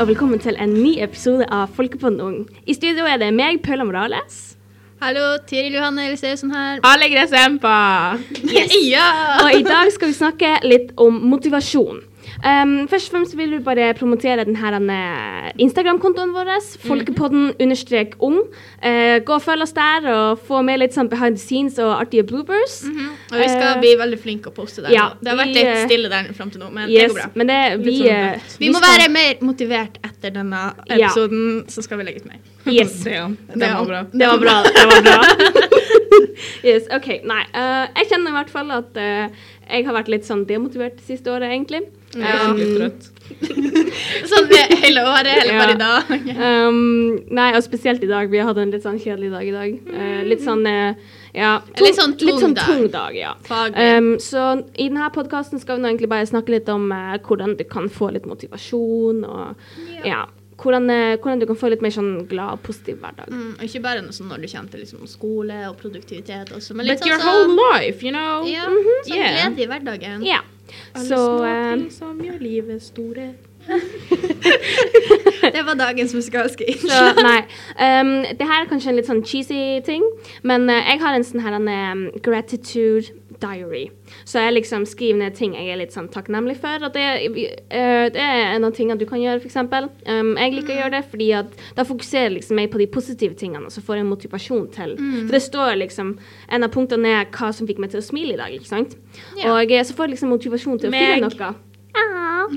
og velkommen til en ny episode av Folkepodden Ung. I studio er det meg, Paula Morales. Hallo, Tiril Johanne Eliseusen her. Ah, Alle Gressemppa! ja! Og i dag skal vi snakke litt om motivasjon. Um, først og fremst vil vi bare promotere den her, eh, Instagram-kontoen vår, folkepodden understrek ung. Eh, gå og følg oss der, og få med litt sånn behind the scenes og artige bloopers. Og vi skal bli veldig flinke å poste der. Eh, ja, nå. det har vært vi, litt eh, stille der fram til nå, men det Yes, går bra. men det, vi, sånn eh, Vi må skal- være mer motivert etter denne Ja. episoden, så skal vi legge ut mer. Yes. Det, ja. det, Det var var- bra. Det var bra. Det var bra. yes, ok, nei. eh, jeg kjenner i hvert fall at eh, jeg har vært litt sånn demotivert det siste året, egentlig. Mm. Jeg er skikkelig trøtt. Sånn det er hele året, eller Ja. bare i dag. Um, nei, og spesielt i dag. Vi har hatt en litt sånn kjedelig dag i dag. Eh, litt sånn eh, ja, Litt sånn tung dag. tung dag. Ja. Faglig. Um, så i denne podkasten skal vi nå egentlig bare snakke litt om eh, hvordan du kan få litt motivasjon. Og, ja. hvordan, eh, hvordan du kan få litt mer sånn glad og positiv hverdag. Mm, og ikke bare noe sånn når du kommer til liksom, skole og produktivitet også, men litt But your sånn whole sånn life, you know. ja, Mm-hmm. Mhm. sånn Yeah. glede i hverdagen. Ja. Så eh, som gjør livet store. Det var dagens musikalske Så, innslag. nei. Um, det her er kanskje en litt sånn cheesy ting, men eh, jeg har en sånn her en, um, gratitude diary. Så jeg liksom skriver ned ting jeg er litt sånn takknemlig for. Og det, eh, det er en av tingene du kan gjøre, f.eks. Um, jeg liker å Mm. gjøre det fordi at da fokuserer liksom jeg på de positive tingene, og så får jeg motivasjon til. Mm. For det står liksom En av punktene er hva som fikk meg til å smile i dag, ikke sant? Ja. Og eh, så får jeg liksom motivasjon til å Meg. finne noe. Ah.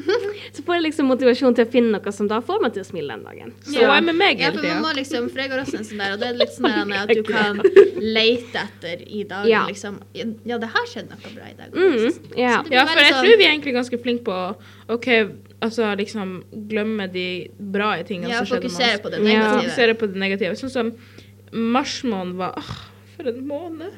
Så får jeg liksom motivasjon til å finne noe som da får meg til å smile den dagen. Så er med meg Ja, hele for man må tida. liksom, for jeg går også en sånn der, og det er litt sånn der Anne, at du kan lete etter i dag, Ja. liksom. Ja, det har skjedd noe bra i dag. Mm, ja. Så det blir Ja, for veldig jeg sånn- tror vi er egentlig ganske flinke på å OK, altså liksom glemme de bra tingene Ja, som skjedde med fokusere oss. på det Ja. negative. Fokusere på det negative. Sånn som marsmånen var Åh, for en måned.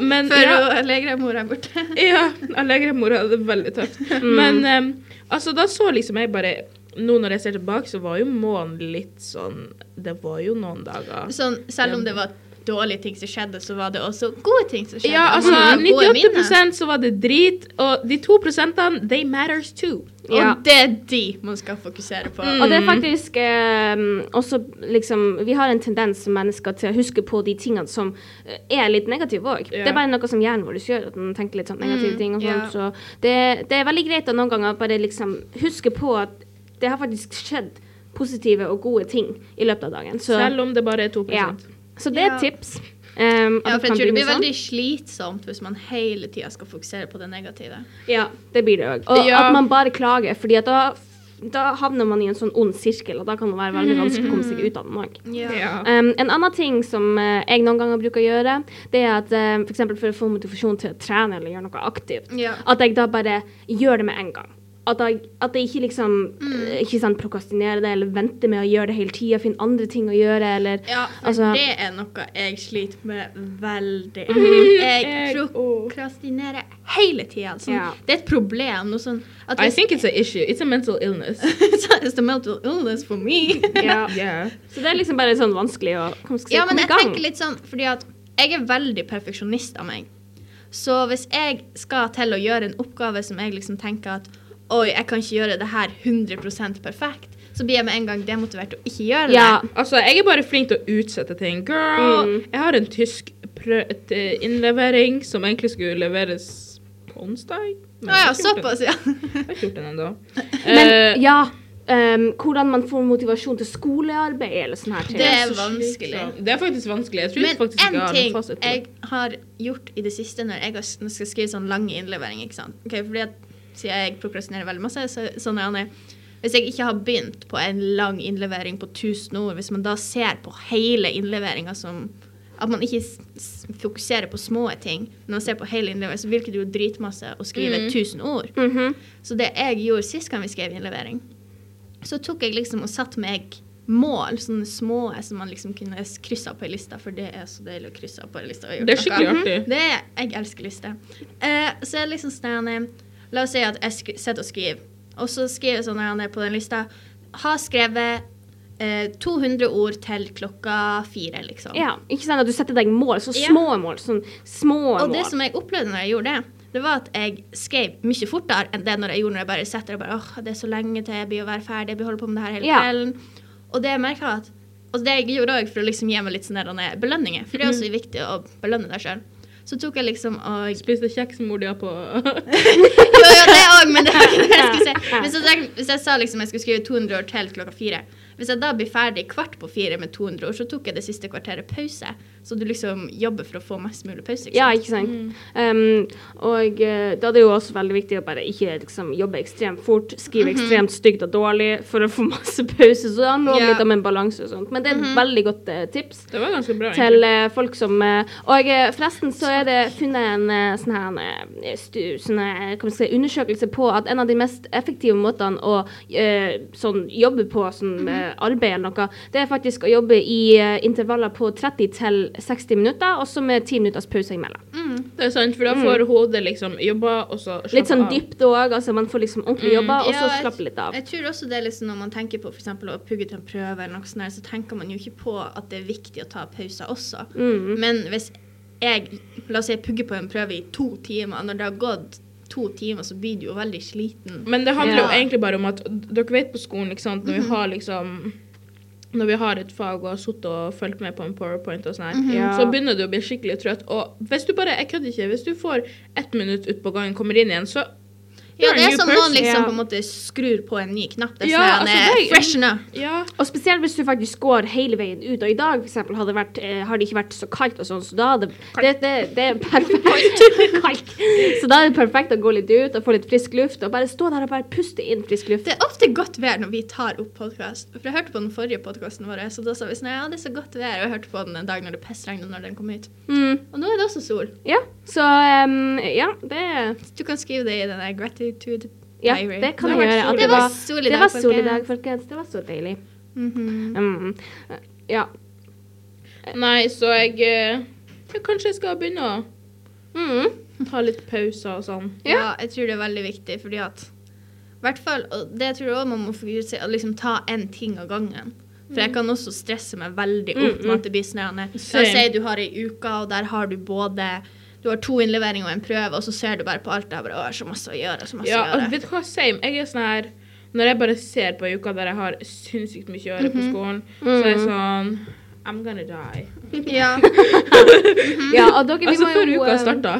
Men Før ja, hun legemor er borte. Ja, Allegra-mora hadde det veldig tøft. Mm. Men em, altså, da så liksom jeg bare Nå når jeg ser tilbake, så var jo månen litt sånn Det var jo noen dager. Sånn, selv om det var dårlige ting som skjedde, så var det også gode ting som skjedde. Ja, altså Man har gode minner. 98 så var det drit, og de to prosentene, they matters too. Ja. Og det er de man skal fokusere på. Mm. Og det er faktisk eh, også liksom Vi har en tendens som mennesker til å huske på de tingene som eh, er litt negative òg. Ja. Det er bare noe som hjernen vår gjør, at den tenker litt sånn negative Mm, ting. og sånt, Så det, det er veldig greit å noen ganger bare liksom huske på at det har faktisk skjedd positive og gode ting i løpet av dagen. Så, Selv om det bare er 2 ja. så det er Ja. et tips. Um, at Ja, det for kan jeg tror det begynne blir sånn. veldig slitsomt hvis man hele tida skal fokusere på det negative. Ja, det blir det òg. Og Ja. at man bare klager, fordi at da, da havner man i en sånn ond sirkel, og da kan det være veldig Mm. vanskelig å komme seg ut av den òg. Ja. Um, en annen ting som eh, jeg noen ganger bruker å gjøre, det er at eh, for f.eks. for å få motivasjon til å trene eller gjøre noe aktivt, Ja. at jeg da bare gjør det med en gang. At jeg, at jeg ikke liksom Mm. eh, ikke sant, prokrastinerer det eller venter med å gjøre det hele tida, finner andre ting å gjøre eller Ja, for altså, det er noe jeg sliter med veldig. Jeg Jeg også. prokrastinerer hele tida. Sånn. Ja. Det er et problem. Noe sånn at I hvis, think it's an issue. It's a mental illness. It's a mental illness for me. ja. Yeah. Så det er liksom bare sånn vanskelig å hva skal jeg si, ja, komme men jeg i gang. tenker litt sånn fordi at jeg er veldig perfeksjonist av meg. Så hvis jeg skal til å gjøre en oppgave som jeg liksom tenker at Oi, jeg kan ikke gjøre det her 100 perfekt, så blir jeg med en gang demotivert og ikke gjør det. ja, Altså, jeg er bare flink til å utsette ting. Girl, Mm. jeg har en tysk prø et, eh, innlevering som egentlig skulle leveres på onsdag. Å ja, men jeg har ikke gjort såpass, ja. den- Jeg har ikke gjort den ennå. Men Eh, ja, ehm, hvordan man får motivasjon til skolearbeid eller sånne her ting. Det så er slitsomt. vanskelig. Det er faktisk vanskelig. Jeg tror Men faktisk ikke en jeg har ting noen fasit på det. jeg har gjort i det siste når jeg har- når jeg skal skrive sånn lange innleveringer, ikke sant? Ok, fordi at siden jeg prokrastinerer veldig masse, så sånn er det. Hvis jeg ikke har begynt på en lang innlevering på 1000 ord, hvis man da ser på hele innleveringa som At man ikke s- s- fokuserer på små ting, men man ser på hele innleveringen, så virker det jo dritmasse å Mm. skrive 1000 ord. Mhm. Så det jeg gjorde sist gang vi skrev innlevering, så tok jeg liksom og satte meg mål, sånne små som man liksom kunne s- krysse av på ei liste, for det er så deilig å krysse av på ei liste. og gjøre Det er noe. skikkelig artig. Det er, jeg elsker lister. Eh, så er det liksom sånn eh, La oss si at jeg skri, sitter og skriver, og så skriver jeg sånn her ned på den lista Har skrevet eh, 200 ord til klokka fire, liksom. Ja, ikke sant at du setter deg mål, så Ja. små mål, sånn små Og mål. det som jeg opplevde når jeg gjorde det, det var at jeg skrev mye fortere enn det når jeg gjorde når jeg bare setter og bare åh, det er så lenge til jeg blir å være ferdig, jeg blir holde på med det her hele Ja. kvelden. Og det jeg merket var at og det jeg gjorde òg for å liksom gi meg litt sånne der belønninger, for det er også Mhm. viktig å belønne deg sjøl. Så tok jeg liksom og Spiste kjeks mor di har på jo, jo, det òg, men det var ikke det jeg skulle si. Hvis jeg, hvis jeg sa liksom jeg skulle skrive 200 ord til klokka fire Hvis jeg da blir ferdig kvart på fire med 200 ord, så tok jeg det siste kvarteret pause. Så du liksom jobber for å få mest mulig pause. Ja, ikke sant. Um, og eh, da er det jo også veldig viktig å bare ikke liksom, jobbe ekstremt fort, skrive ekstremt stygt og dårlig for å få masse pause. Så det handler Ja. litt om en balanse og sånt. Men det er et veldig godt eh, tips Det var ganske bra. til egentlig. eh, folk som eh, Og eh, forresten så er det funnet en eh, sånn her eh, stu, sånn her, hva man skal si, undersøkelse på at en av de mest effektive måtene å eh, sånn, jobbe på som eh, arbeid eller noe, det er faktisk å jobbe i eh, intervaller på 30 til 60 minutter, og så med 10 minutters pause imellom. Mm. Det er sant, for da får hodet liksom jobba, og så slappe Litt sånn av. dypt òg, altså man får liksom ordentlig jobba, og så Ja, jeg- slappe litt av. Jeg tror også det er liksom når man tenker på for eksempel å pugge til en prøve, eller noe sånt der, så tenker man jo ikke på at det er viktig å ta pauser også. Mm. Mhm. Men hvis jeg la oss si jeg pugger på en prøve i to timer, når det har gått to timer, så blir du jo veldig sliten. Men det handler jo Ja. egentlig bare om at d- dere vet på skolen, ikke sant, når vi har liksom når vi har et fag og har sittet og fulgt med på en powerpoint, og sånn her, Ja. så begynner du å bli skikkelig trøtt. Og hvis du bare jeg kødder ikke, hvis du får ett minutt ut på gangen, kommer inn igjen, så Ja, You're a det er new som noen person. liksom Ja. på en måte skrur på en ny knapp. Det er Ja, sånn altså, altså, det er- freshen up. Ja. Og spesielt hvis du faktisk går hele veien ut. Og i dag for eksempel, har det vært, eh, har det ikke vært så kaldt, og sånn, så da er det, det, det, det er perfekt. Kaldt. Så da er det perfekt å gå litt ut og få litt frisk luft, og bare stå der og bare puste inn frisk luft. Det er ofte godt vær når vi tar opp podkast. For jeg hørte på den forrige podkasten vår, så da sa vi sånn ja, det er så godt vær. Og jeg hørte på den en dag når det pissregnet når den kom ut. Mm, Og nå er det også sol. ja, så em, ja, det, Så du kan skrive det i den der gratitude ja, diary. det kan Det jeg har gjøre. At vært sol. Det det var var, sol i det dag, var sol i folkens. dag, folkens. Det var så deilig. Mhm. Mm, ja. Nei, så jeg eh, ja, Kanskje jeg skal begynne å Mm. ta litt pauser og sånn. Ja. ja. jeg tror det er veldig viktig, fordi at i hvert fall, og det tror jeg også man må fokusere seg- å liksom ta en ting av gangen. For jeg kan også stresse meg veldig opp med Mm, mm. at det blir snøende. La Same. oss si du har ei uke, og der har du både du har to innleveringer og en prøve, og så ser du bare på alt det her bare, å, jeg har så masse å gjøre. så masse Ja, å altså, gjøre. vet du hva, same. Jeg er sånn her Når jeg bare ser på ei uke der jeg har sinnssykt mye å gjøre på skolen, så er jeg sånn I'm gonna die. Ja. ja, og dere, vi Altså må før jo, eh, uka em, starta.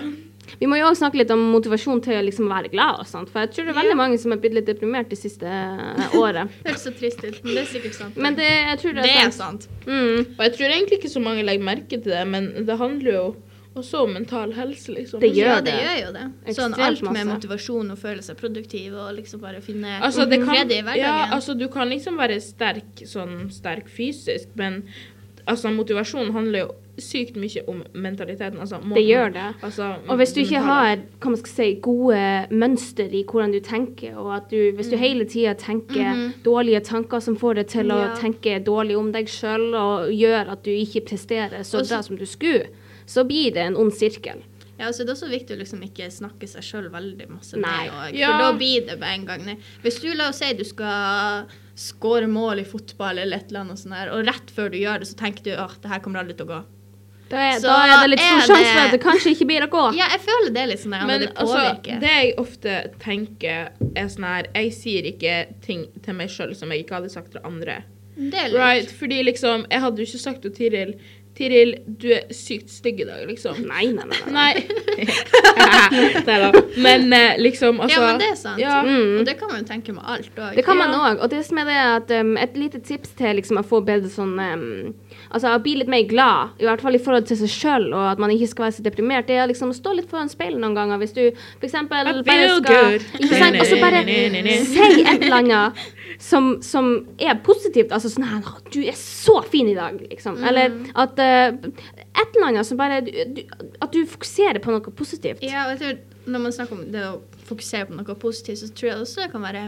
Vi må jo også snakke litt om motivasjon til å liksom være glad. og sånt, For jeg tror det er veldig mange som er blitt litt deprimert det siste eh, året. Det høres så trist ut, men det er sikkert sant. Men det, jeg tror det det er er sant. sant. Mm, Og jeg tror egentlig ikke så mange legger merke til det, men det handler jo også om mental helse, liksom. Det gjør ja, det det. gjør jo det. Sånn Ekstremt alt med masse. motivasjon og føle seg produktiv og liksom bare finne Altså, det kan, fred i hverdagen. ja, altså, du kan liksom være sterk, sånn, sterk fysisk, men altså, motivasjon handler jo sykt mye om mentaliteten. Altså, måten- det gjør det. Altså, Og hvis du Mm, ikke mentale. har hva man skal si, gode mønster i hvordan du tenker, og at du, Mm. hvis du hele tida tenker dårlige tanker som får deg til Mhm. Ja. å tenke dårlig om deg sjøl, og gjør at du ikke presterer så Og så- bra som du skulle, så blir det en ond sirkel. Ja, så Det er også viktig å liksom ikke snakke seg sjøl veldig masse Nei. ned. Og, Ja. For da blir det med en gang ned. Hvis du la oss si du skal skåre mål i fotball eller et eller annet, og sånt der, og rett før du gjør det, så tenker du at det her kommer aldri til å gå. Da er, Så da er det litt stor er sjanse for at det- det kanskje ikke blir å gå. Ja, jeg føler det er litt sånn der, men Men det altså, påvirker. det jeg ofte tenker, er sånn her Jeg sier ikke ting til meg sjøl som jeg ikke hadde sagt til andre. det, er litt. Right? Fordi liksom Jeg hadde jo ikke sagt til Tiril Tiril, du er sykt stygg i dag, liksom. Nei, nei, nei. nei. Nei. Neida. Men eh, liksom, altså ja, men det er sant. Ja. Mm. Og det kan man jo tenke med alt òg. Det kan man Ja. òg. Og det som er det at um, et lite tips til liksom, å få bedre sånn um, Altså å bli litt mer glad, i hvert fall i forhold til seg sjøl, og at man ikke skal være så deprimert, det er å liksom stå litt foran speilet noen ganger. Hvis du f.eks. bare feel skal good. Ikke sant? Og så bare Ne-ne-ne-ne-ne. si et eller annet som, som er positivt. Altså sånn her «Å, Du er så fin i dag, liksom. Mm. Eller at uh, Et eller annet som bare du, du, At du fokuserer på noe positivt. Ja, og jeg tror Når man snakker om det å fokusere på noe positivt, så tror jeg også det kan være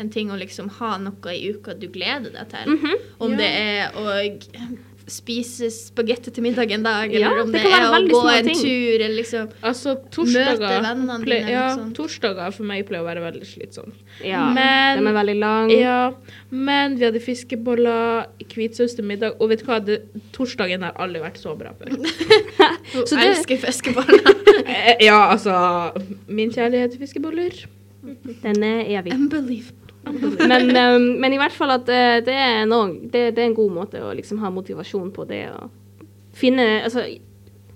en ting å liksom ha noe i uka du gleder deg til. Mhm. Om Ja. det er å spise spagetti til middag en dag, Ja, eller om det det, kan er være å veldig gå små en ting. tur, eller liksom Altså, Møte torsdager vennene dine, liksom. ple- eller Ja, noe sånt. torsdager for meg pleier å være veldig slitsomt. Ja. Men- Den er veldig lang. Mm. Ja, men vi hadde fiskeboller, hvitsaus til middag, og vet du hva? Det, torsdagen har aldri vært så bra før. Hun Så det- elsker fiskeboller. Eh, Ja, altså Min kjærlighet til fiskeboller. Den er evig. Unbelievable. Men, eh, men i hvert fall at eh, det, er noe, det, det er en god måte å liksom ha motivasjon på det. Og finne Altså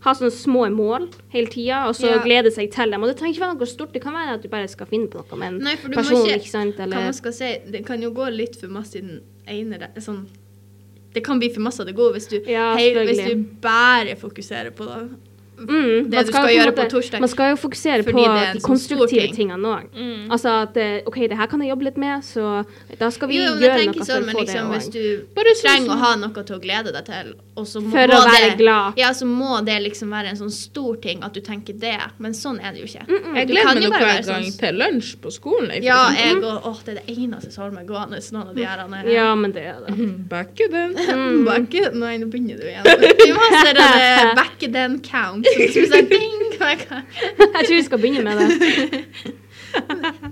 ha sånne små mål hele tida, og så Ja. glede seg til dem. Og det trenger ikke være noe stort, det kan være at du bare skal finne på noe med en Nei, for du må person. ikke- ikke sant? Hva Eller, man skal si, det kan jo gå litt for masse i den ene re- sånn, Det kan bli for masse av det gode hvis du, Ja, hei, hvis selvfølgelig. du bare fokuserer på det. Mm, det man du skal skal jo på en gjøre på måte- torsdag. Man skal jo fokusere på Fordi det er en de sånn stor konstruktive ting. Mm. tingene òg. Mm, Altså at eh, OK, det her kan jeg jobbe litt med, så da skal vi Jo, men jeg gjøre noe tenker sånn, for å men få liksom, det hvis òg. du Bare sånn trenger å som- ha noe til å glede deg til, og så må, For å må være det, glad. Ja, så må det liksom være en sånn stor ting at du tenker det, men sånn er det jo ikke. Jeg Du gleder kan meg jo nå bare hver være gang sånn- til lunsj på skolen. jeg, for Ja, eksempel. jeg og Åh, det er det eneste som holder meg gående, så noen av de her han er- Ja, Mm. men det er det. Backer den. Bakke Nei, nå begynner du igjen. Vi må ha sånn back then count. Så skulle jeg si, ding, hva jeg kan. Jeg tror vi skal begynne med det.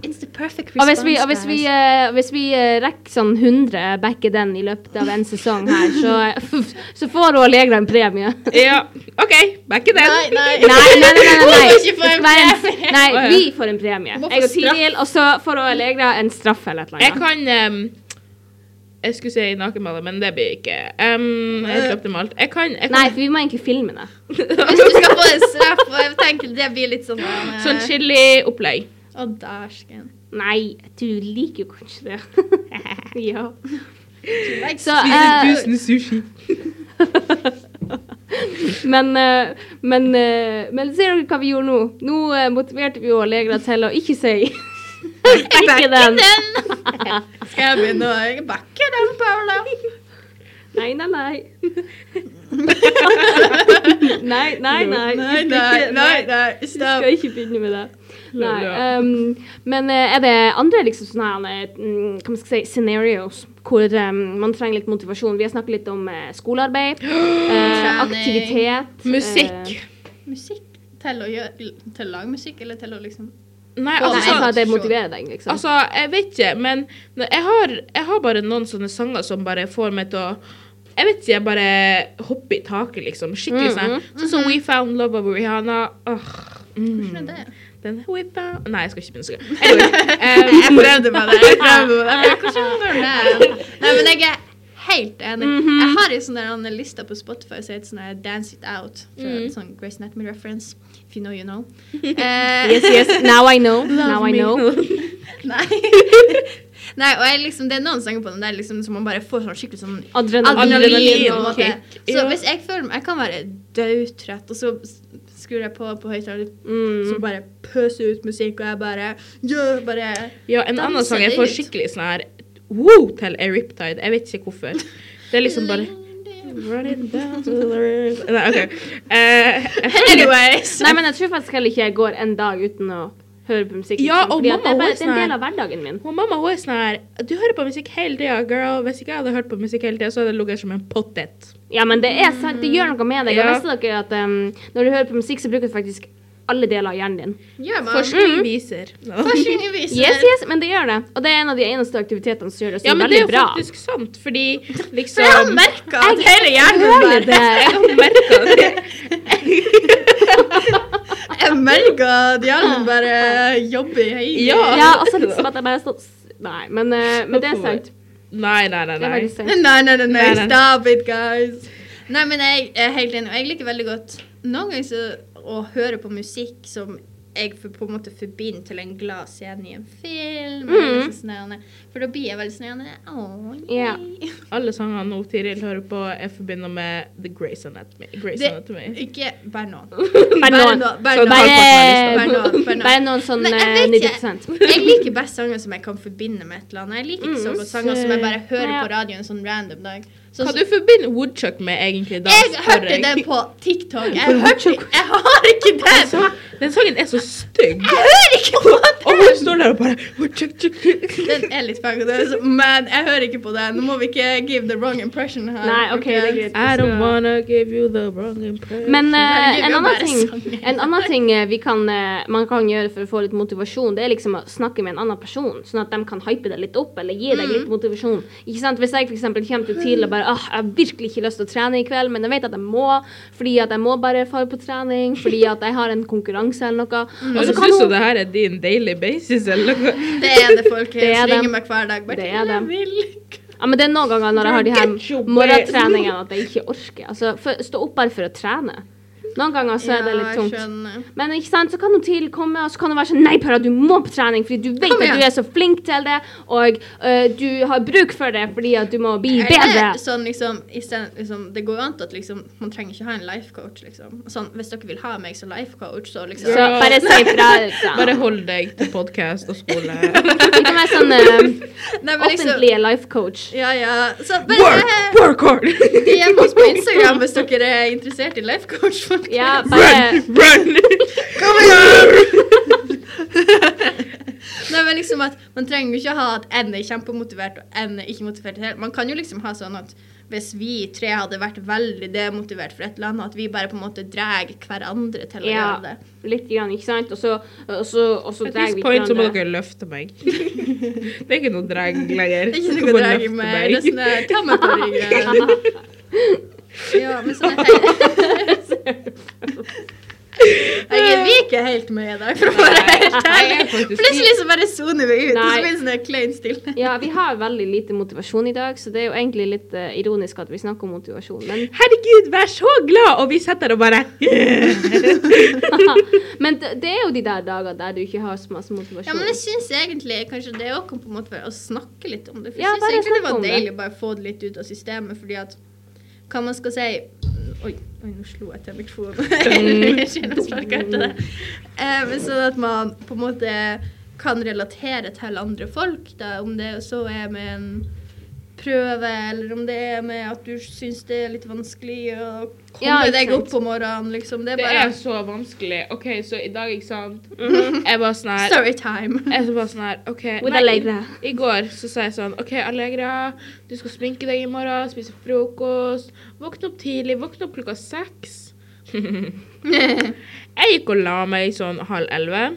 It's the perfect Og hvis response. vi, og hvis vi, eh, hvis vi eh, rekker sånn 100 back i den i løpet av en sesong her, så, så får hun Allegra en premie. Ja, OK. Backer den. Nei, nei. Nei, nei, nei. nei, nei, nei. Hun Det skal ikke få skal være en premie. Nei, Å, ja. vi får en premie. Hun må få Jeg og straff. Tiril, og så får hun Allegra en straff eller et eller Jeg annet. kan ehm, Jeg skulle si nakenbade, men det blir ikke ehm, helt optimalt. Jeg kan, jeg kan Nei, for vi må egentlig filme det. Hvis du skal få en straff, og jeg tenker det blir litt sånn eh, Sånn chili-opplegg. Å, dæsken. Nei, du liker jo kanskje det. ja. Så, eh, sushi. Men, eh, men, eh, men ser dere hva vi gjorde nå? Nå eh, motiverte vi jo Allegra til å ikke si Back den. Skal jeg begynne å bakke den, Paula? Nei, nei, nei. nei, nei, nei. Nei, nei, nei, nei. Vi Stopp. skal ikke begynne med det. Nei, Ja. ehm, men eh, er det andre liksom sånne her, eh, mm, hva man skal si, scenarios hvor eh, man trenger litt motivasjon? Vi har snakket litt om eh, skolearbeid, eh, Trening. aktivitet. Musikk. eh, Musikk til å gjøre Til å lage musikk, eller til å liksom Nei, nei, altså, jeg sa at det Motivasjon. motiverer deg, liksom. altså Jeg vet ikke, men når- jeg har, jeg har bare noen sånne sanger som bare får meg til å jeg vet ikke, jeg bare hopper i taket, liksom. Skikkelig Mm, sånn. mm. Sånn som We Found Love of Rihanna. Åh, Hvordan er mm. det? Den We Found Nei, jeg skal ikke begynne å synge. Anyway, ehm, prøvde med det. Jeg prøvde med det. Men hvordan går det? Nei, men jeg er helt enig. Jeg har en sånn der annen liste på Spotify som heter sånn her Dance It Out. Fra Mm. en sånn Grace Netman reference. If you know, you know. Eh, Yes, yes. Now I know. Now I me. know. Nei. Nei, og jeg liksom, det er noen sanger på den der liksom, som man bare får sånn skikkelig sånn Adrenalin. adrenalin. på en Adrenalinkick, måte. Så ja. hvis jeg føler meg Jeg kan være dødtrett, og så s- skrur jeg på på høyttaler, så Mm. bare pøser ut musikk, og jeg bare Ja, bare Ja, en Danse annen sang jeg det får ut. skikkelig sånn her wow til er Riptide. Jeg vet ikke hvorfor. Det er liksom bare Running down to the river. Nei, OK. Eh, jeg føler- Anyways. Nei, men jeg tror faktisk heller ikke jeg går en dag uten å høre på musikk. Ja, liksom, og fordi at det er mamma, hun er bare det er en sånn her- del av hverdagen min. og mamma hun er sånn her Du hører på musikk hele tida, girl. Hvis ikke jeg hadde hørt på musikk hele tida, så hadde jeg ligget som en potet. Ja, men det er sant. Det gjør noe med deg. Og Ja. visste dere at um, når du hører på musikk, så bruker du faktisk alle deler av hjernen din. Ja, man. Forskning Mm. viser. Mm. Forskning viser Yes, yes, men det gjør det. Og det er en av de eneste aktivitetene som gjør det så Ja, men veldig det er jo bra. faktisk sant, fordi For jeg har liksom merka at hele hjernen Hører bare det. Jeg merker det. Jeg merker at hjernen bare jobber i høyden. Ja. Ja, altså liksom at jeg bare står Nei, men, uh, men det er sant. Nei, nei, nei. Det er nei. faktisk sant. Nei, nei, nei, Nei, nei, nei. stop it, guys. Nei, men jeg er helt enig, og jeg liker veldig godt noen ganger så å høre på musikk som jeg for, på en måte forbinder til en glad scene i en film. Mhm. eller sånn der, For da blir jeg veldig sånn der, åh, Ja. yay. Alle sangene nå Tiril hører på, jeg forbinder med The Grace Anatomy. Grey's Det- Anatomy. Ikke bare noen. Bare noen. Bare Så noen. Bare, Bare noen, bare noen. bare noen sånn Nei, jeg uh, vet ikke. 90 Jeg liker best sanger som jeg kan forbinde med et eller annet. Jeg liker ikke så Mm. godt sanger som jeg bare hører Ja. på radioen en sånn random dag. Så, Hva du forbinder Woodchuck med egentlig? da, jeg spør hørte jeg. det på TikTok. Jeg, hørte, jeg har ikke den! Altså, Den sangen er så Jeg stygg. hører ikke på Og den! hun står der og bare Woodchuck, chuck, chuck. Den er litt faggodes, men jeg hører ikke på den. Nå må vi ikke give the wrong impression her. Nei, OK, det er greit. I don't wanna give you the wrong impression. Men Herregud, eh, en, vi har annen bare ting, sanger. en annen ting eh, vi kan, eh, man kan gjøre for å få litt motivasjon, det er liksom å snakke med en annen person, sånn at de kan hype deg litt opp, eller gi deg Mm. litt motivasjon. Ikke sant? Hvis jeg for eksempel kommer til TIL og bare ah, 'Jeg har virkelig ikke lyst til å trene i kveld', men jeg vet at jeg må, fordi at jeg må bare fare på trening, fordi at jeg har en konkurranse eller noe. Og Mm. Høres så altså, ut kan som hun det her er din daily basis eller noe. Det er det, folkens. Det er Ringer dem. meg hver dag. Bare, Det er «Jeg dem. vil ikke». Ja, men det er noen ganger når jeg har de Get your her way. morgentreningene at jeg ikke orker. Altså, for, stå opp bare for å trene. Noen ganger så er det Ja, litt jeg tungt. skjønner. Men ikke sant, så kan hun til komme, og så kan hun være sånn Nei, Pera, du må på trening, fordi du vet Kom at igjen!» du er så flink til det, og ø, du har bruk for det fordi at du må bli bedre. Eller sånn liksom, i stedet, liksom Det går jo an til at liksom, man trenger ikke ha en life coach, liksom. Sånn, hvis dere vil ha meg som life coach, så liksom Så bare si fra. liksom. Bare hold deg til podkast og skole. Vi kan være sånn ø, Nei, men liksom- offentlige life coach. Ja, ja. Så bare Work, eh, work hard! DM oss på Instagram hvis dere er interessert i life coach. folkens. Ja, bare Run, run! Kom igjen! Nei, men liksom at Man trenger jo ikke ha at en er kjempemotivert og en er ikke motivert. i det hele. Man kan jo liksom ha sånn at hvis vi tre hadde vært veldig demotivert for et eller annet, at vi bare på en måte drar hverandre til å ja, gjøre det. litt grann, ikke sant? Og så, og så, og så At drar this vi point så må hverandre. dere løfte meg. Det er ikke noe drag lenger. Det er ikke Dere noe må å dra i løfte meg. Det meg. er sånn der, Ta meg på ryggen. Ja, men sånn er det. Jeg er ikke helt med i dag, for å være helt Jeg er ærlig. faktisk- Plutselig så bare soner vi ut, og Nei. så blir det sånn der klein stille. Ja, vi har veldig lite motivasjon i dag, så det er jo egentlig litt ø, ironisk at vi snakker om motivasjon. Men Herregud, vær så glad! Og vi sitter der og bare Men det, det er jo de der dagene der du ikke har så masse motivasjon. Ja, men jeg syns egentlig kanskje det òg kan på en måte være å snakke litt om det. For jeg Ja, synes bare egentlig det snakke om var det. deilig å bare få det litt ut av systemet, fordi at hva man skal si Oi, oi nå slo jeg til mikrofonen. Jeg kjenner jeg sparker til det. Eh, men sånn at man på en måte kan relatere til andre folk, da, om det så er med en prøve, eller om det er med at du syns det er litt vanskelig å komme Ja, ikke deg sant. opp om morgenen, liksom. Det er Det bare Mm-hmm. er så vanskelig. OK, så i dag, ikke sant Jeg var sånn her storytime. Jeg var sånn her OK. With nei, Allegra. I går så sa jeg sånn OK, Allegra, du skal sminke deg i morgen, spise frokost, våkne opp tidlig, våkne opp klokka seks. jeg gikk og la meg sånn halv elleve.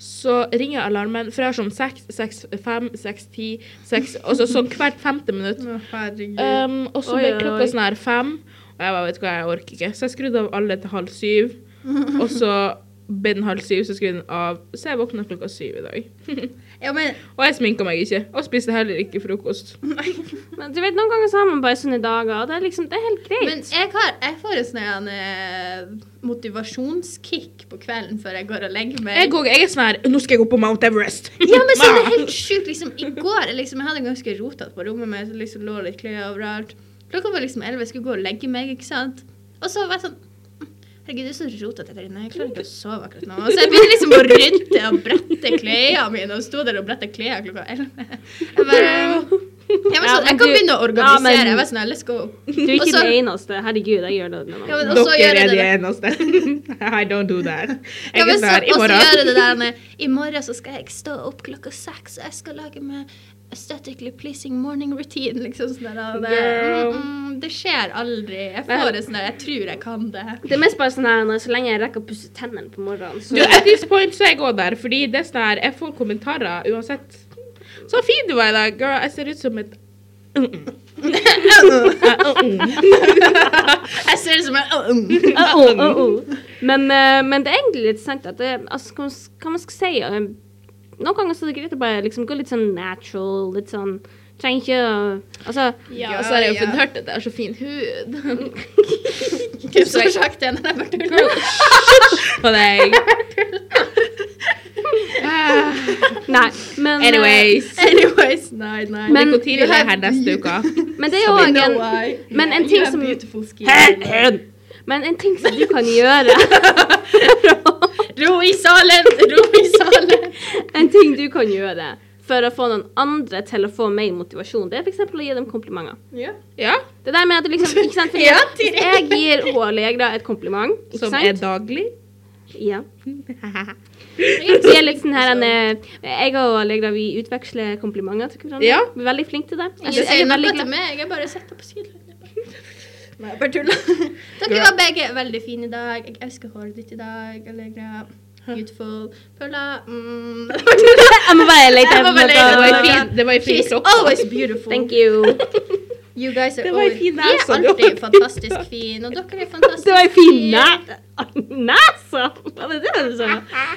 Så ringer alarmen, for jeg har sånn seks, seks, fem, seks, ti, seks Og så sånn hvert femte minutt. Å, herregud. Um, og så Oi, ble oi, klokka oi. sånn her fem, og jeg bare vet du hva, jeg orker ikke. Så jeg skrudde av alle til halv syv, og så ble den halv syv, så skrudde den av. Så jeg våkna klokka syv i dag. ja, men og jeg sminka meg ikke, og spiste heller ikke frokost. Men du vet, Noen ganger så har man bare sånne dager, og det er liksom, det er helt greit. Men jeg, har, jeg får en sånn eh, motivasjonskick på kvelden før jeg går og legger meg. Jeg, går, jeg er sånn her Nå skal jeg gå på Mount Everest! ja, men så er det helt sjukt. Liksom, I går liksom, jeg hadde jeg ganske rotete på rommet mitt. det Liksom, lå litt kløe overalt. Klokka var liksom elleve, jeg skulle gå og legge meg. ikke sant? Og så var jeg sånn Herregud, det er så rotete der inne. Jeg klarer ikke å sove akkurat nå. Så jeg begynte liksom å rydde og brette klærne mine. Og sto der og bretta klær klokka elleve. Jeg bare... Ja, men Ja, men sånn, jeg kan du- begynne å Ja, men- organisere. Jeg var sånn, let's go. Du er Og ikke så- den eneste. Herregud, jeg gjør det. nå. Ja, men- og så Dere gjør jeg er de det. eneste. I don't do that. Ja, Jeg men så, er sånn her i og så gjør jeg det morgen. der med, I morgen så skal jeg stå opp klokka seks, og jeg skal lage meg aesthetically pleasing morning routine. Liksom sånn der, og det, Girl. mm, mm, det skjer aldri. Jeg Vel. får det sånn der, jeg tror jeg kan det. Det er mest bare sånn her, når- så lenge jeg rekker å pusse tennene på morgenen, så Du, at this point så er jeg òg der, fordi det er sånn her Jeg får kommentarer uansett. Så fin du var i dag, girl. Jeg ser ut som et Jeg ser det som en mm. Åh, åh, åh. oh, Men, eh, men det er egentlig litt sant at det, altså, hva man s- hva man skal si eh, Noen ganger så er det greit å bare liksom gå litt sånn natural, litt sånn Trenger ikke å Altså Ja, og så har jeg jo ja. funnet hørt at jeg har så fin hud. Hvem som har sagt det? Når jeg bare tuller. På deg. Ah, Nei, men eh, Anyways. Anyways, nei, nei. Men- Nikotin er her neste uke. Men det er jo You òg know en why. men en You ting have som- beautiful skin. Men en ting som du kan gjøre Ro i salen! Ro i salen! En ting du kan gjøre for å få noen andre til å få mer motivasjon, det er f.eks. å gi dem komplimenter. Ja. Ja, Det der med at du liksom ikke sant, fordi Ja, at Hvis jeg gir hun Allegra et kompliment, ikke Som er sant? daglig. Ja. Vi er litt sånn her en, eh, Jeg og Allegra vi utveksler komplimenter til hverandre. Ja. Vi er veldig flinke til det. Ikke synes si er veldig noe glad- til meg, jeg bare setter på sidelinjen. Nei, jeg bare tuller. Dere var begge veldig fine i dag. Jeg elsker håret ditt i dag. Allegra. Beautiful. Perla. Mm. Jeg må bare lete Jeg må etter bare lete Det var noe. ei fin, det var en fin She's kropp. always beautiful. Thank you. You guys are Det var en all- Vi fin er nese du alltid hadde. fantastisk fin, og dere er fantastisk Det var en fin fin. nese! Hva er det du sa?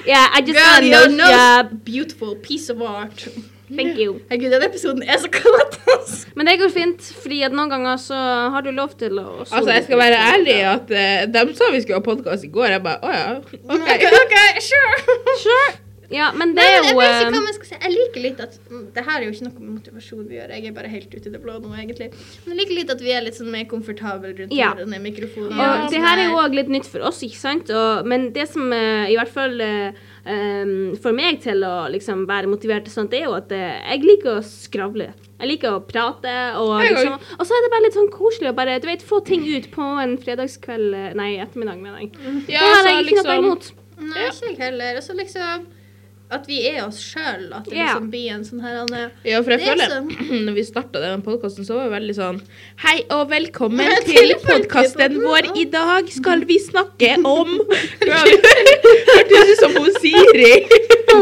Yeah, I just got Girl, a your nose nose, job. beautiful piece of art. Thank you. Herregud, den episoden er så kalatas. Men det går fint, fordi at noen ganger så har du lov til å sole Altså, jeg skal deg. være ærlig at eh, de sa vi skulle ha podkast i går. Jeg bare å ja. OK. OK, sure. Sure. Ja, men det Nei, er men jeg jo vet ikke hva eh, man skal si. Jeg liker litt at mm, Det her er jo ikke noe med motivasjon vi gjør, jeg er bare helt ute i det blå nå, egentlig. Men jeg liker litt at vi er litt sånn mer komfortable rundt Ja. denne mikrofonen. sånn Og Ja, det her er jo òg litt nytt for oss, ikke sant? Og, men det som eh, i hvert fall eh, em, får meg til å liksom være motivert til sånt, det er jo at eh, jeg liker å skravle. Jeg liker å prate, og, Jeg liksom, og så er det bare litt sånn koselig å bare du vet, få ting ut på en fredagskveld eh, Nei, ettermiddag, mener jeg. Mm, Ja, det har så jeg ikke noe liksom imot. Nei, ikke jeg heller. Og så liksom at vi er oss sjøl. At det Ja. Eh, liksom blir en sånn her Anne Ja, for jeg Det er føler når vi starta denne podkasten, så var vi veldig sånn Hei og velkommen til podkasten vår. I dag skal vi snakke om Hørtes ut som hun Siri på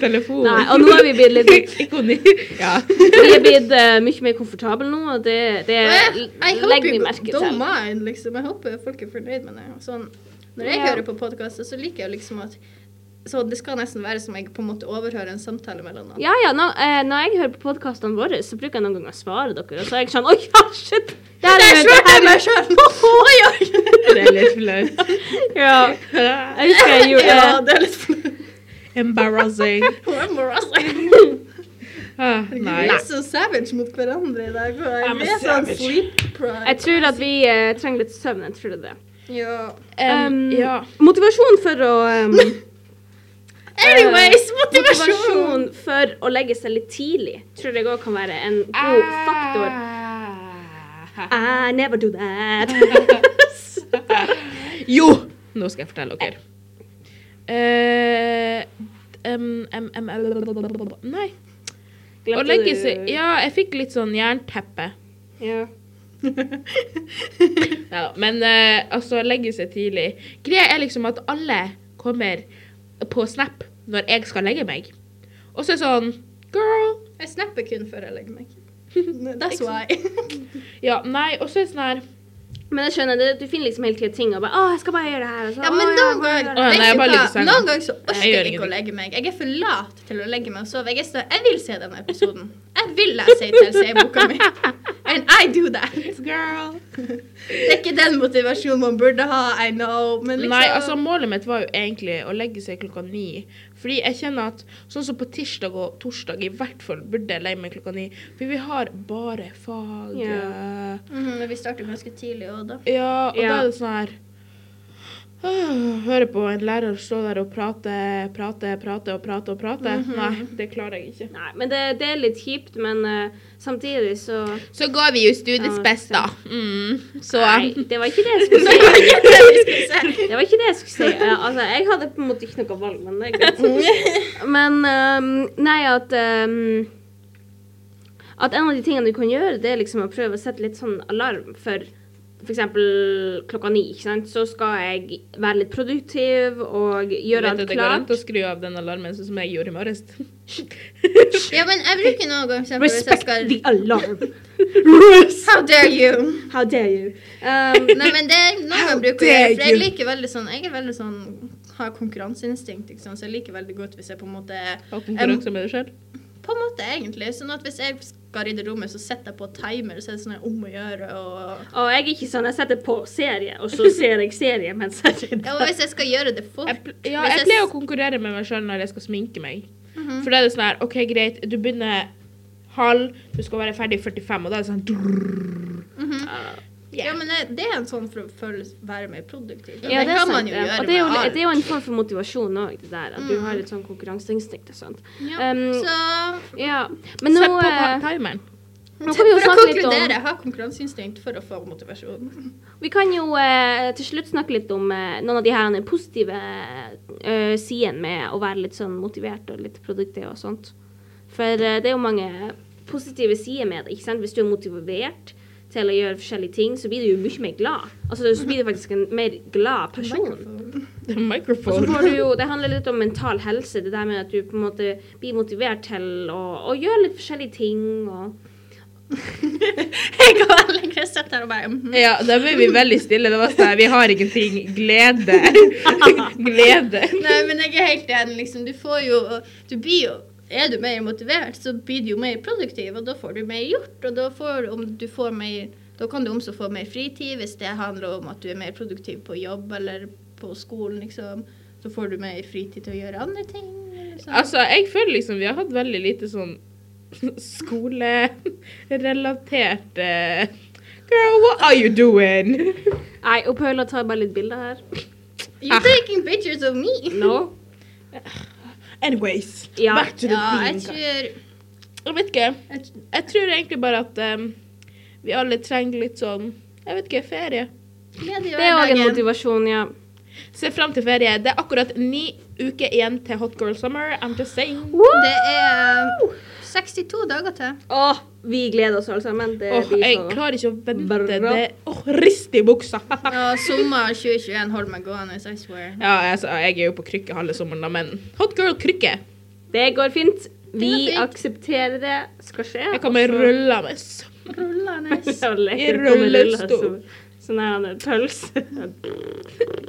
telefon. Nei, og nå har vi blitt litt Ikoni. Ja. Vi er blitt eh, mye mer komfortable nå, og det, det Jeg jeg legger håper vi jo merke don't til. mind, liksom. Jeg håper folk er fornøyd med det. Sånn, når jeg Ja. hører på podkaster, så liker jeg liksom at Så det skal nesten være som jeg på en måte overhører en samtale mellom noen. Ja, ja, når, eh, når jeg hører på podkastene våre, så bruker jeg noen ganger å svare dere, og så er jeg sånn Oi, ja, shit! Det her Det er er det svært av her meg sjøl! Det er litt flaut. Ja. Jeg husker jeg gjorde Ja, eh, det er litt flaut. Embarrassing. Ah, Nei. altså. nei. Vi er så savage mot hverandre i dag. Og I'm a vi er sånn savage. sleep Jeg pride. tror at vi eh, trenger litt søvn. Jeg tror det. er det. Ja. Um, Um, ja. Motivasjon for å um, Anyways, motivasjon! Motivasjon for å legge seg litt tidlig tror jeg òg kan være en god faktor. Ah. I never do that. Jo! Nå skal jeg fortelle dere. Eh, em, em, em, blablabla. Nei. Å legge seg Ja, jeg fikk litt sånn jernteppe. Ja. Ja, men eh, altså, legge seg tidlig Greia er liksom at alle kommer på Snap når jeg skal legge meg. Og så er det sånn Girl. Jeg snapper kun før jeg legger meg. That's why. Ja, nei, og så er det sånn her Men jeg skjønner, det, du finner liksom hele tiden ting og bare Å, jeg skal bare gjøre det her. Og så, Ja, men «Å, noen jeg ganger skal bare gjøre det her». Å, nei, jeg Vet du bare hva? ligger i senga. Noen ganger så Jeg orker gjør jeg ikke å ingenting. legge meg. Jeg er for lat til å legge meg og sove. Jeg, er så, jeg vil se denne episoden. Jeg vil lese ITLC-boka mi. And I do that. Girl. Det er ikke den motivasjonen man burde ha, I know, men liksom Nei, altså målet mitt var jo egentlig å legge seg klokka ni. Fordi jeg kjenner at sånn som på tirsdag og torsdag i hvert fall burde jeg legge meg klokka ni. For vi har bare fag. Ja. Mhm, Vi starter jo ganske tidlig òg, da. Ja, og da Ja. er det sånn her øh, Høre på en lærer stå der og prate, prate, prate og prate og prate. Mhm. Nei, det klarer jeg ikke. Nei, men det, det er litt kjipt, men eh, samtidig så Så går vi jo Ja, studiets beste. Mm, så Nei, det var ikke det jeg skulle si. Det var ikke det jeg skulle si. Eh, altså, jeg hadde på en måte ikke noe valg, men det er greit. Men ehm, nei, at ehm, At en av de tingene du kan gjøre, det er liksom å prøve å sette litt sånn alarm for F.eks. klokka ni, ikke sant? så skal jeg være litt produktiv og gjøre Vet du, alt det går an klart. til å skru av den alarmen sånn som jeg gjorde i morges. Ja, men jeg bruker noen ganger for eksempel hvis jeg Respect skal the alarm. How dare you! How dare you? Um, Nei, men det er noe jeg bruker å dare gjøre, for jeg you. liker veldig sånn Jeg er veldig sånn har konkurranseinstinkt, ikke sant, så jeg liker veldig godt hvis jeg på en måte Og konkurranse med deg sjøl. På en måte, egentlig. Sånn at hvis jeg skal rydde rommet, så setter jeg på timer, så er det sånn her om å gjøre og og jeg er ikke sånn, jeg setter på serie, og så ser jeg serie mens jeg Ja, og hvis jeg skal gjøre det fort Jeg, pl- ja, hvis jeg pleier å konkurrere med meg sjøl når jeg skal sminke meg. Mhm, For da er det sånn her OK, greit, du begynner halv, du skal være ferdig 45, og da er det sånn Mhm. yeah. Ja, men det, det er en sånn for, for å være mer produktiv. Ja, det, kan er sant, man jo det. gjøre Og det er jo, med alt. Mm. det er jo en form for motivasjon òg, det der. At du har litt sånn konkurranseinstinkt og sånt. Ja, Um, så Mm. Ja. Men nå Sett på eh, pa- timeren. Nå kan vi jo for å snakke litt om- konkludere, ha konkurranseinstinkt for å få motivasjon. Vi kan jo eh, til slutt snakke litt om eh, noen av de her positive eh, sidene med å være litt sånn motivert og litt produktiv og sånt. For eh, det er jo mange positive sider med det, ikke sant. Hvis du er motivert til å gjøre forskjellige ting, så blir du jo mye mer glad. Altså så blir du faktisk en mer glad person. The Og så microphone. får du jo, Det handler litt om mental helse, det der med at du på en måte blir motivert til å, å gjøre litt forskjellige ting. Og, Jeg kan være lenger sitte her og bare mhm. Ja, da ble vi veldig stille. Det var sånn Vi har ingenting. Glede. Glede. Nei, men jeg er helt enig. Liksom. Du får jo Du blir jo Er du mer motivert, så blir du jo mer produktiv, og da får du mer gjort. Og da får om du får mer Da kan du også få mer fritid hvis det handler om at du er mer produktiv på jobb eller på skolen, liksom. Så får du mer fritid til å gjøre andre ting. eller sånn. Altså, jeg føler liksom vi har hatt veldig lite sånn skolerelatert eh, Girl, what are you doing? Nei, og Paula tar bare litt bilder her. ah. You're taking pictures of me! No. Anyways, Ja. back to the Ja, jeg queen. tror Jeg vet ikke. jeg tr- Jeg tror egentlig bare at eh, vi alle trenger litt sånn Jeg vet ikke, ferie. glede i Det er òg en hverdagen. motivasjon, ja. Se fram til ferie. Det er akkurat ni uker igjen til Hot Girl Summer. I'm just saying. Det er 62 dager til. Åh, vi gleder oss alle sammen. Det Åh, blir jeg så klarer ikke å vente. Bra. Det Åh, rist i buksa. Ah. Ja, sommer 2021 holder meg gående, I swear. ja, altså, jeg er jo på krykke halve sommeren, da, men Hot Girl krykke. Det går fint. Vi Det går fint. aksepterer det skal skje. Altså, Jeg kommer Og så- rullende. Rullende. Ja, leker I du på med ruller, rullestol. så- Sånn her han er pølse.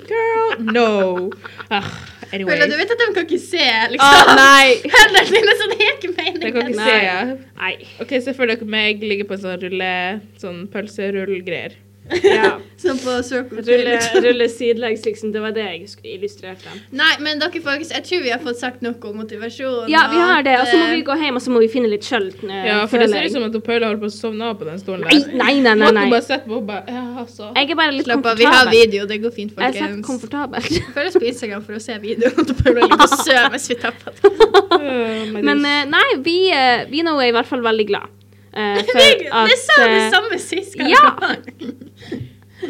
Girl, no. Ah, anyway. Føler du vet at de kan ikke se, Åh, liksom. Ah, nei! Hendene dine, så det er ikke meningen. Jeg kan ikke Nei. se. Ja. Nei. Ok, Se for dere meg ligge på en sånn rulle... Sånn pølserullgreier. Ja. Sånn på Circle K, Rulle, liksom. rulle sidelengs, liksom. Det var det jeg skulle illustrert dem. Nei, men dere folkens, jeg tror vi har fått sagt noe om motivasjon. Ja, vi har det. Og så må sånn at, eh, vi gå hjem, og så må vi finne litt sjøl. Ja, for det ser ut som at hun Paula holder på å sovne av på den stolen Nei, der. nei, nei. nei, Måten hun nei. bare setter på, hun bare Ja, altså. Jeg er bare litt Slapp av, vi har komfortabel. video, det går fint, jeg er sett folkens. komfortabel. Følg oss på Instagram for å se videoen til Paula ligger og sover mens vi tapper det. Oh, my Men eh, days. nei, vi, eh, vi nå er i hvert fall veldig glad. eh, for Vi sa det eh, samme sist gang. ja.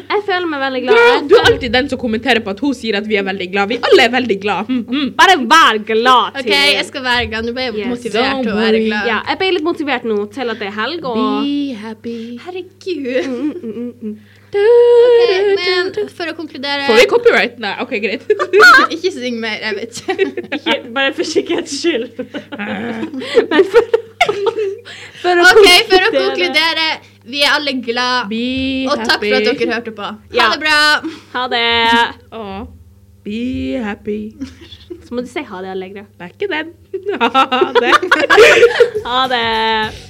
Jeg føler meg veldig glad. Girl, Jeg du er føler- alltid den som kommenterer på at hun sier at vi er veldig glad. Vi alle er veldig glad. Mm, mm. Bare vær glad. OK, Turid. jeg skal være glad. Nå ble jeg Yes. motivert til å Don't være worry. glad. ja, jeg ble litt motivert nå til at det er helg, og happy. Herregud. Mm, mm, mm, mm. Ok, men for å konkludere Får vi copyright? Nei, OK, greit. Ikke syng mer, jeg vet ikke. Ikke, bare for sikkerhets skyld. Men for, for å OK, for å konkludere. Vi er alle glad. Be Og takk for at dere hørte på. Ha Ja. det bra. Ha det. Åh. Be happy. Så må du si ha det, Allegra. Det er ikke den. Ha det. Ha det.